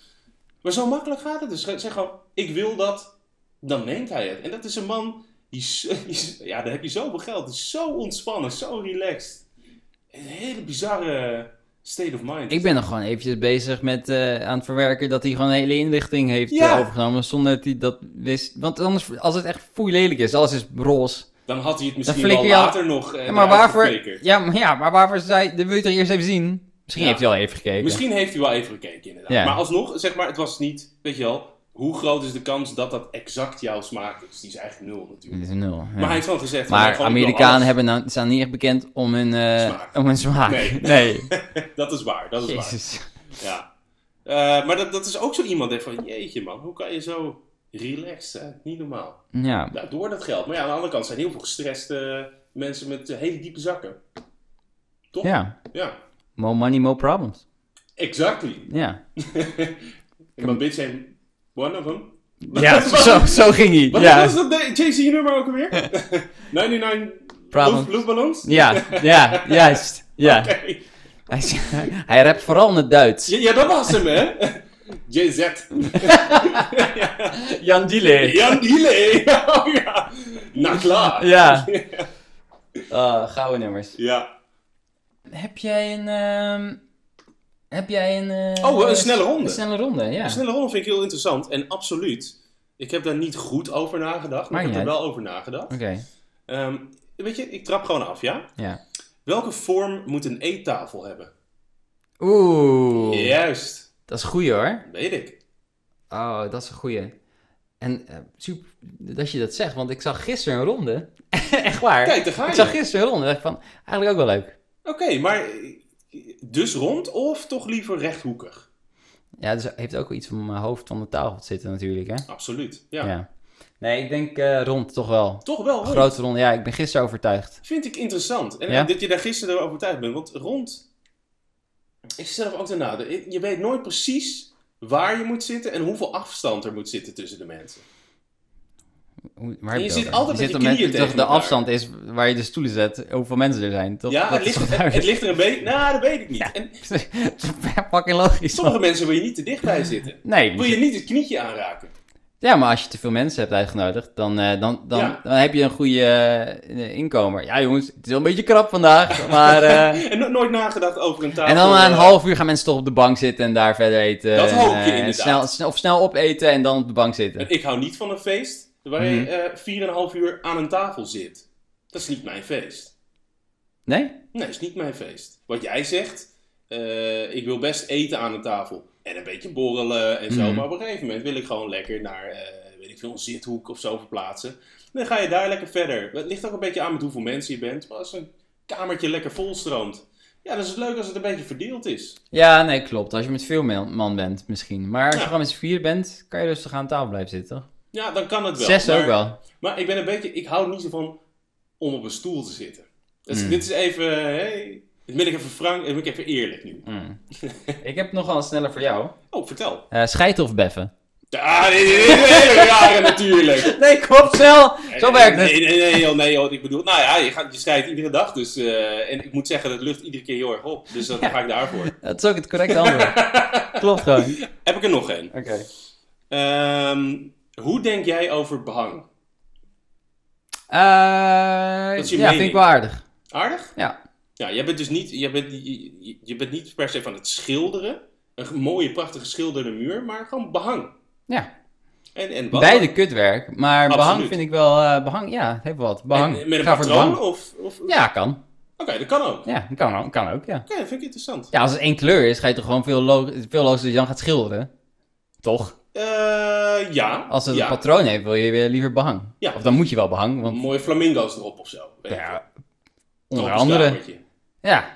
Speaker 1: Maar zo makkelijk gaat het dus. Zeg gewoon, ik wil dat, dan neemt hij het. En dat is een man, die, is- (laughs) die is- ja, daar heb je zoveel geld. Die is zo ontspannen, zo relaxed. Een hele bizarre state of mind.
Speaker 2: Ik ben nog gewoon eventjes bezig met eh, aan het verwerken dat hij gewoon een hele inrichting heeft eh,
Speaker 1: Ja.
Speaker 2: overgenomen zonder dat hij dat wist. Want anders, als het echt foei lelijk is, alles is roze.
Speaker 1: Dan had hij het
Speaker 2: Dan
Speaker 1: misschien wel
Speaker 2: flikker je al-
Speaker 1: later nog. eh,
Speaker 2: Ja, maar
Speaker 1: eruit
Speaker 2: waarvoor,
Speaker 1: geflikkerd.
Speaker 2: ja, maar, ja, maar waarvoor zei, dat wil je toch eerst even zien? Misschien
Speaker 1: Ja.
Speaker 2: heeft hij al even gekeken.
Speaker 1: Misschien heeft hij wel even gekeken, inderdaad.
Speaker 2: Ja.
Speaker 1: Maar alsnog, zeg maar, het was niet, weet je wel, hoe groot is de kans dat dat exact jouw smaak is? Die is eigenlijk nul natuurlijk.
Speaker 2: Dit is nul. ja.
Speaker 1: Maar hij heeft wel gezegd. van, nou,
Speaker 2: Maar
Speaker 1: gewoon, ik wil
Speaker 2: Amerikanen
Speaker 1: alles.
Speaker 2: hebben nou, staan niet echt bekend om hun, eh,
Speaker 1: Smaak.
Speaker 2: Om hun smaak.
Speaker 1: Nee.
Speaker 2: nee.
Speaker 1: (laughs) Dat is waar, dat is
Speaker 2: Jezus.
Speaker 1: waar. Ja. Eh, maar dat, dat is ook zo iemand, hè, van jeetje man, hoe kan je zo relaxed zijn? Niet normaal.
Speaker 2: Ja,
Speaker 1: Nou, door dat geld. Maar ja, aan de andere kant zijn heel veel gestreste mensen met eh, hele diepe zakken. Toch?
Speaker 2: ja.
Speaker 1: Ja.
Speaker 2: More money, more problems.
Speaker 1: Exactly.
Speaker 2: Ja.
Speaker 1: En mijn bitch zijn one of them. (laughs)
Speaker 2: Ja, zo, zo ging hij.
Speaker 1: Wat
Speaker 2: Ja.
Speaker 1: was dat de- Jay-Z-nummer ook alweer?
Speaker 2: (laughs)
Speaker 1: (laughs) 99
Speaker 2: Problems.
Speaker 1: Loop- Loopballons?
Speaker 2: Ja, ja, juist. Ja.
Speaker 1: Oké.
Speaker 2: Hij, is- hij rapt vooral in het Duits.
Speaker 1: Ja, ja, dat was hem, (laughs) hè? JZ.
Speaker 2: Jan Dile.
Speaker 1: (laughs) Jan Dile. oh, ja. Nou, klaar.
Speaker 2: Ja. Ah, gouden nummers.
Speaker 1: Ja.
Speaker 2: Heb jij een... ehm, heb jij een... eh,
Speaker 1: Oh, een snelle ronde.
Speaker 2: Een snelle ronde, ja.
Speaker 1: Een snelle ronde vind ik heel interessant. En absoluut, ik heb daar niet goed over nagedacht, maar
Speaker 2: Maakt
Speaker 1: ik heb
Speaker 2: niet
Speaker 1: er wel over nagedacht.
Speaker 2: Oké,
Speaker 1: Ehm, weet je, ik trap gewoon af, ja?
Speaker 2: ja.
Speaker 1: Welke vorm moet een eettafel hebben?
Speaker 2: Oeh,
Speaker 1: Juist,
Speaker 2: dat is een goeie hoor.
Speaker 1: weet ik.
Speaker 2: Oh, dat is een goeie. En eh, super dat je dat zegt, want ik zag gisteren een ronde. (laughs) Echt waar.
Speaker 1: Kijk, daar ga
Speaker 2: ik
Speaker 1: je.
Speaker 2: zag gisteren een ronde en dacht ik van, eigenlijk ook wel leuk.
Speaker 1: Oké, maar eh, dus rond of toch liever rechthoekig?
Speaker 2: Ja, dus heeft ook wel iets van mijn hoofd van de tafel zitten natuurlijk, hè?
Speaker 1: Absoluut, ja. Oh.
Speaker 2: Nee, ik denk eh, rond toch wel.
Speaker 1: Toch wel rond.
Speaker 2: Grote ronde, ja, ik ben gisteren overtuigd.
Speaker 1: Vind ik interessant. En
Speaker 2: Ja?
Speaker 1: dat je daar gisteren over overtuigd bent. Want rond. Ik zit zelf ook te nadenken. Je weet nooit precies waar je moet zitten en hoeveel afstand er moet zitten tussen de mensen.
Speaker 2: Hoe, waar
Speaker 1: En
Speaker 2: heb
Speaker 1: je
Speaker 2: het
Speaker 1: zit
Speaker 2: over?
Speaker 1: altijd met je
Speaker 2: er
Speaker 1: knieën tegen
Speaker 2: toch de
Speaker 1: elkaar.
Speaker 2: afstand is waar je de stoelen zet, hoeveel mensen er zijn. Toch?
Speaker 1: ja,
Speaker 2: Dat
Speaker 1: het
Speaker 2: is
Speaker 1: ligt,
Speaker 2: toch
Speaker 1: het, (laughs) het ligt er een beetje. Nou, dat weet ik niet. En
Speaker 2: (laughs) duidelijk? Fucking logisch.
Speaker 1: sommige mensen wil je niet te dichtbij zitten.
Speaker 2: Nee,
Speaker 1: Wil je niet het knietje aanraken.
Speaker 2: Ja, maar als je te veel mensen hebt uitgenodigd, dan, eh, dan, dan,
Speaker 1: Ja.
Speaker 2: dan heb je een goede eh, inkomer. Ja, jongens, het is wel een beetje krap vandaag. (laughs) Maar,
Speaker 1: (laughs)
Speaker 2: eh,
Speaker 1: En no- nooit nagedacht over een tafel.
Speaker 2: en dan na een
Speaker 1: eh,
Speaker 2: half uur gaan mensen toch op de bank zitten en daar verder eten.
Speaker 1: Dat
Speaker 2: En,
Speaker 1: hoop je
Speaker 2: eh,
Speaker 1: inderdaad.
Speaker 2: Snel, snel- of snel opeten en dan op de bank zitten.
Speaker 1: Ik hou niet van een feest waar je
Speaker 2: Mhm.
Speaker 1: eh, vier en een half uur aan een tafel zit. Dat is niet mijn feest.
Speaker 2: Nee?
Speaker 1: Nee, is niet mijn feest. Wat jij zegt, eh, ik wil best eten aan de tafel. En een beetje borrelen en zo.
Speaker 2: Mhm.
Speaker 1: Maar op een gegeven moment wil ik gewoon lekker naar, eh, weet ik veel, een zithoek of zo verplaatsen. En dan ga je daar lekker verder. Het ligt ook een beetje aan met hoeveel mensen je bent. Maar als een kamertje lekker volstroomt, ja, dan is het leuk als het een beetje verdeeld is.
Speaker 2: Ja, nee, klopt. Als je met veel mel- man bent, misschien. Maar als je
Speaker 1: Ja.
Speaker 2: gewoon met z'n vier bent, kan je rustig aan tafel blijven zitten. toch?
Speaker 1: Ja, dan kan het wel.
Speaker 2: Zes
Speaker 1: maar,
Speaker 2: ook wel.
Speaker 1: Maar ik ben een beetje, ik hou niet zo van om op een stoel te zitten. Dus
Speaker 2: Mm.
Speaker 1: dit is even, hey, dit ben ik even frank en ben ik even eerlijk nu.
Speaker 2: Mm. ik heb nogal een sneller voor jou.
Speaker 1: Oh, vertel.
Speaker 2: Eh scheiden
Speaker 1: (laughs)
Speaker 2: of beffen?
Speaker 1: Ja, dit is een hele rare natuurlijk.
Speaker 2: Nee, klopt, snel. (laughs) Zo werkt het.
Speaker 1: Nee, nee, nee, nee, joh, nee joh. ik bedoel, nou ja, je, gaat, je strijdt iedere dag, dus, eh, en ik moet zeggen, dat lucht iedere keer heel erg op, dus dat, daar ga ik daarvoor.
Speaker 2: Dat is ook het
Speaker 1: (laughs)
Speaker 2: correcte antwoord. klopt gewoon. Oké.
Speaker 1: Heb ik er nog een. Ehm, hoe denk jij over behang?
Speaker 2: Eh,
Speaker 1: Dat is je
Speaker 2: ja, vind
Speaker 1: mening.
Speaker 2: ik wel aardig.
Speaker 1: Aardig?
Speaker 2: Ja.
Speaker 1: Ja, jij bent dus niet, jij bent, je, je bent niet per se van het schilderen, een mooie, prachtige schilderde muur, maar gewoon behang.
Speaker 2: ja.
Speaker 1: En, en wat
Speaker 2: Beide kutwerk, maar behang
Speaker 1: Absoluut.
Speaker 2: vind ik wel... eh, behang, ja, heeft wat. Behang.
Speaker 1: En, eh, met een
Speaker 2: Ga voor het
Speaker 1: patroon?
Speaker 2: behang.
Speaker 1: Of, of, Oké,
Speaker 2: Ja, kan.
Speaker 1: dat kan ook. Oké,
Speaker 2: Ja, kan, kan ook, ja.
Speaker 1: dat vind ik interessant.
Speaker 2: Ja, als het één kleur is, ga je toch gewoon veel, lo veel logischer dat je dan gaat schilderen. Toch?
Speaker 1: Eh, ja.
Speaker 2: Als het
Speaker 1: ja.
Speaker 2: een patroon heeft, wil je weer liever behang.
Speaker 1: Ja.
Speaker 2: Of dan moet je wel behang, want
Speaker 1: Mooie flamingo's erop of zo. weet ik veel.
Speaker 2: ja, onder
Speaker 1: Tropisch
Speaker 2: andere...
Speaker 1: kamertje. (laughs)
Speaker 2: Ja.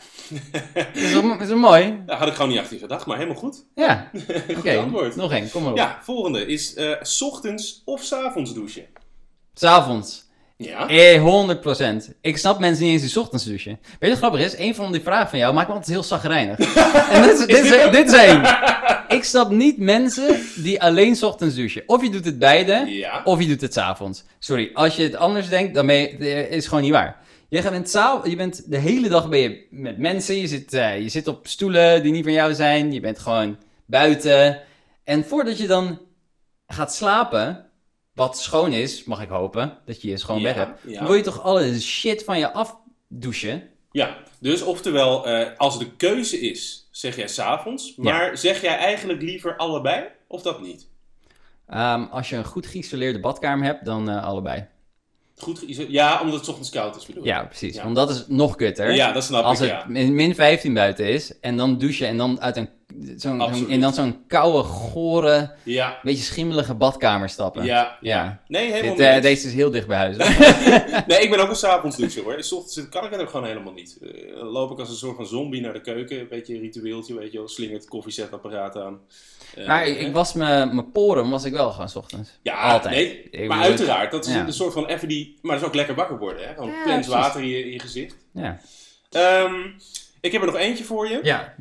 Speaker 2: dat is wel, is wel mooi.
Speaker 1: Daar had ik gewoon niet achter gedacht, maar helemaal goed. (laughs)
Speaker 2: Ja. Oké,
Speaker 1: antwoord.
Speaker 2: nog één. Kom maar op.
Speaker 1: Ja, volgende is eh, 's ochtends of 's avonds douchen.
Speaker 2: S'avonds.
Speaker 1: Ja.
Speaker 2: Eh, 100%. Ik snap mensen niet eens die 's ochtends douchen. Weet je wat grappig is? Een van die vragen van jou maakt me altijd heel
Speaker 1: (laughs)
Speaker 2: zagrijnig. en dit is, dit, is,
Speaker 1: dit
Speaker 2: dit is één. Ik snap niet mensen die alleen 's ochtends douchen. Of je doet het beide,
Speaker 1: Ja.
Speaker 2: of je doet het 's avonds. Sorry, als je het anders denkt, dan ben je, eh, is het gewoon niet waar. Je, gaat in het zaal, je bent de hele dag ben je met mensen. Je zit, eh, je zit op stoelen die niet van jou zijn. Je bent gewoon buiten. En voordat je dan gaat slapen, wat schoon is, mag ik hopen, dat je je schoon
Speaker 1: Ja,
Speaker 2: weg hebt.
Speaker 1: ja.
Speaker 2: Dan wil je toch alle shit van je afdouchen?
Speaker 1: ja. Dus oftewel, eh, als de keuze is, zeg jij 's avonds, maar zeg jij eigenlijk liever allebei of dat niet?
Speaker 2: Ehm, als je een goed geïsoleerde badkamer hebt, dan eh, allebei.
Speaker 1: Goed, geïso- ja, omdat het 's ochtends koud is bedoel ik.
Speaker 2: Ja, precies.
Speaker 1: Ja.
Speaker 2: Want dat is nog kutter.
Speaker 1: Ja, dat snap
Speaker 2: als
Speaker 1: ik,
Speaker 2: het
Speaker 1: ja.
Speaker 2: min min 15 buiten is en dan douchen en dan uit een zo'n,
Speaker 1: Absoluut.
Speaker 2: zo'n- en dan zo'n koude, gore,
Speaker 1: Ja.
Speaker 2: beetje schimmelige badkamer stappen.
Speaker 1: Ja.
Speaker 2: Ja.
Speaker 1: Nee, helemaal
Speaker 2: Dit, eh,
Speaker 1: niet.
Speaker 2: deze is heel dicht bij huis.
Speaker 1: (laughs) Nee, ik ben ook een 's avonds douchen hoor. 's ochtends kan ik het ook gewoon helemaal niet. Eh, dan loop ik als een soort van zombie naar de keuken. Een beetje een ritueeltje, weet je wel. Slingert het koffiezetapparaat aan. Eh,
Speaker 2: maar Nou, ik, ik was mijn mijn poren was ik wel gewoon 's ochtends.
Speaker 1: Ja,
Speaker 2: Altijd.
Speaker 1: nee,
Speaker 2: Ik bedoel,
Speaker 1: maar uiteraard, dat is
Speaker 2: ja.
Speaker 1: een soort van even die... Maar dat is ook lekker wakker worden, hè? Gewoon
Speaker 2: Ja,
Speaker 1: plens
Speaker 2: precies.
Speaker 1: water in je, in je gezicht.
Speaker 2: Ja.
Speaker 1: Ehm, ik heb er nog eentje voor je.
Speaker 2: Ja.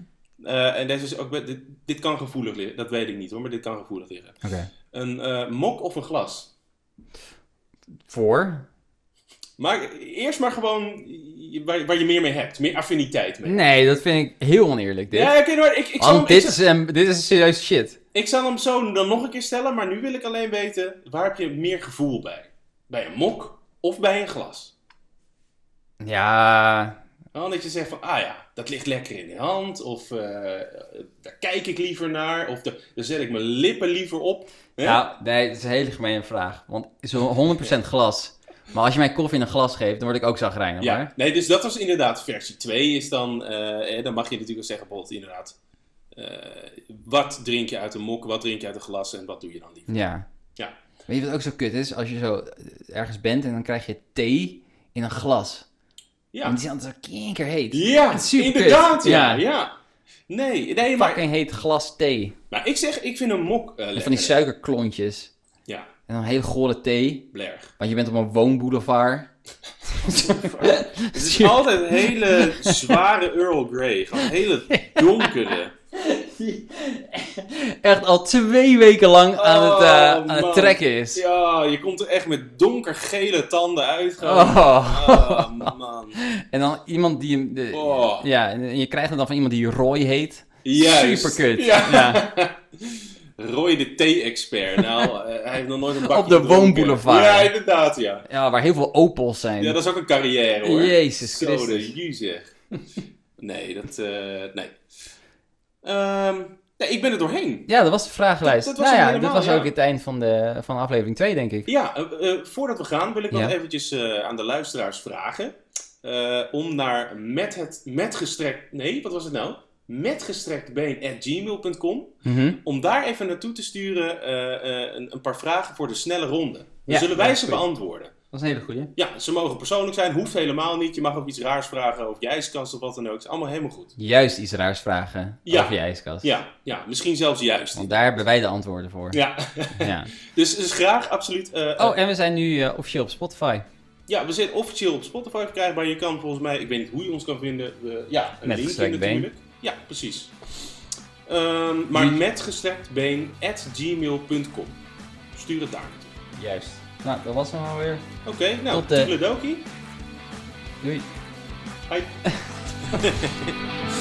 Speaker 1: Eh, en deze is ook, dit, dit kan gevoelig liggen. Dat weet ik niet hoor, maar dit kan gevoelig liggen.
Speaker 2: Oké.
Speaker 1: Een eh, mok of een glas?
Speaker 2: Voor?
Speaker 1: Maar eerst maar gewoon je- waar, waar je meer mee hebt. Meer affiniteit mee.
Speaker 2: Nee, dat vind ik heel oneerlijk dit.
Speaker 1: Ja, oké, maar ik, ik, zal hem,
Speaker 2: Want
Speaker 1: ik,
Speaker 2: dit
Speaker 1: zal,
Speaker 2: is, een, dit is serieus shit.
Speaker 1: ik zal hem zo dan nog een keer stellen. Maar nu wil ik alleen weten, waar heb je meer gevoel bij? Bij een mok of bij een glas?
Speaker 2: Ja,
Speaker 1: Gewoon dat je zegt van, ah ja, dat ligt lekker in de hand. Of eh, daar kijk ik liever naar. Of daar daar zet ik mijn lippen liever op. Hè?
Speaker 2: Ja, Nou, nee, het is een hele gemene vraag. Want zo'n 100% glas. Maar als je mij koffie in een glas geeft, dan word ik ook zagrijnig,
Speaker 1: Ja,
Speaker 2: hoor.
Speaker 1: nee, dus dat was inderdaad versie 2 is dan, eh, eh, dan mag je natuurlijk wel zeggen, bijvoorbeeld inderdaad, eh, wat drink je uit een mok, wat drink je uit een glas en wat doe je dan liever?
Speaker 2: Ja.
Speaker 1: Ja.
Speaker 2: Weet je wat ook zo kut is? Als je zo ergens bent en dan krijg je thee in een glas. En
Speaker 1: Ja,
Speaker 2: die is altijd zo kinkerheet.
Speaker 1: ja
Speaker 2: Het is superkut.
Speaker 1: inderdaad, ja,
Speaker 2: Ja.
Speaker 1: ja. Nee, nee, maar,
Speaker 2: Fucking heet glas thee.
Speaker 1: maar ik zeg, ik vind een mok eh,
Speaker 2: En
Speaker 1: lekkerder.
Speaker 2: van die suikerklontjes.
Speaker 1: Ja,
Speaker 2: En dan hele gore thee. (laughs)
Speaker 1: blerg.
Speaker 2: Want je bent op
Speaker 1: (laughs)
Speaker 2: een woonboulevard.
Speaker 1: Het is altijd een hele zware Earl Grey, gewoon een hele donkere.
Speaker 2: Echt al twee weken lang aan het, eh,
Speaker 1: Oh,
Speaker 2: aan het
Speaker 1: man.
Speaker 2: trekken is.
Speaker 1: Ja, je komt er echt met donkergele tanden uit. gewoon.
Speaker 2: Oh.
Speaker 1: Ah, man.
Speaker 2: En dan iemand die hem... de-
Speaker 1: Oh.
Speaker 2: Ja, en en je krijgt het dan van iemand die Roy heet.
Speaker 1: Juist.
Speaker 2: Superkut.
Speaker 1: Ja.
Speaker 2: Ja.
Speaker 1: Roy de thee-expert. Nou, eh, hij heeft nog nooit een bakje
Speaker 2: Op de
Speaker 1: gedronken.
Speaker 2: woonboulevard.
Speaker 1: Ja, inderdaad, ja.
Speaker 2: Ja, waar heel veel opels zijn.
Speaker 1: Ja, dat is ook een carrière, hoor.
Speaker 2: Jezus
Speaker 1: Zo,
Speaker 2: Christus.
Speaker 1: de juzeg. (laughs) Nee, dat... eh, nee. Ehm, nee, ik ben er doorheen.
Speaker 2: Ja, dat was de vragenlijst.
Speaker 1: Dat- dat was
Speaker 2: nou ja,
Speaker 1: hem helemaal,
Speaker 2: dit was
Speaker 1: ja.
Speaker 2: ook het eind van, de, van aflevering 2, denk ik.
Speaker 1: Ja, eh, eh, voordat we gaan wil ik nog
Speaker 2: Ja.
Speaker 1: eventjes eh, aan de luisteraars vragen. eh, om naar met het met gestrekt... Nee, wat was het nou? Metgestrektbeen at gmail.com
Speaker 2: Mhm.
Speaker 1: om daar even naartoe te sturen eh, eh, een, een paar vragen voor de snelle ronde. Dan
Speaker 2: Ja,
Speaker 1: zullen wij
Speaker 2: ja,
Speaker 1: ze
Speaker 2: goed.
Speaker 1: beantwoorden.
Speaker 2: Dat is een hele goeie.
Speaker 1: Ja, ze mogen persoonlijk zijn, hoeft helemaal niet. Je mag ook iets raars vragen over je ijskast of wat dan ook. Is allemaal helemaal goed.
Speaker 2: Juist iets raars vragen
Speaker 1: Ja.
Speaker 2: over je ijskast.
Speaker 1: Ja, ja misschien zelfs juist.
Speaker 2: Want daar hebben wij de antwoorden voor.
Speaker 1: Ja, (laughs)
Speaker 2: Ja.
Speaker 1: dus, dus graag absoluut. eh, eh,
Speaker 2: Oh, en we zijn nu eh, officieel op Spotify.
Speaker 1: ja, we zitten officieel op Spotify verkrijgbaar. Je kan volgens mij, ik weet niet hoe je ons kan vinden. eh, ja, een
Speaker 2: Met
Speaker 1: linkje
Speaker 2: gestrekt been.
Speaker 1: natuurlijk. Ja, precies. Ehm, maar
Speaker 2: Die-
Speaker 1: met gestrekt been at gmail.com. Stuur het daar naartoe.
Speaker 2: Juist. Nou, dat was hem alweer.
Speaker 1: Oké, nou,
Speaker 2: Tot, eh,
Speaker 1: toedeledokie.
Speaker 2: Doei.
Speaker 1: Hoi.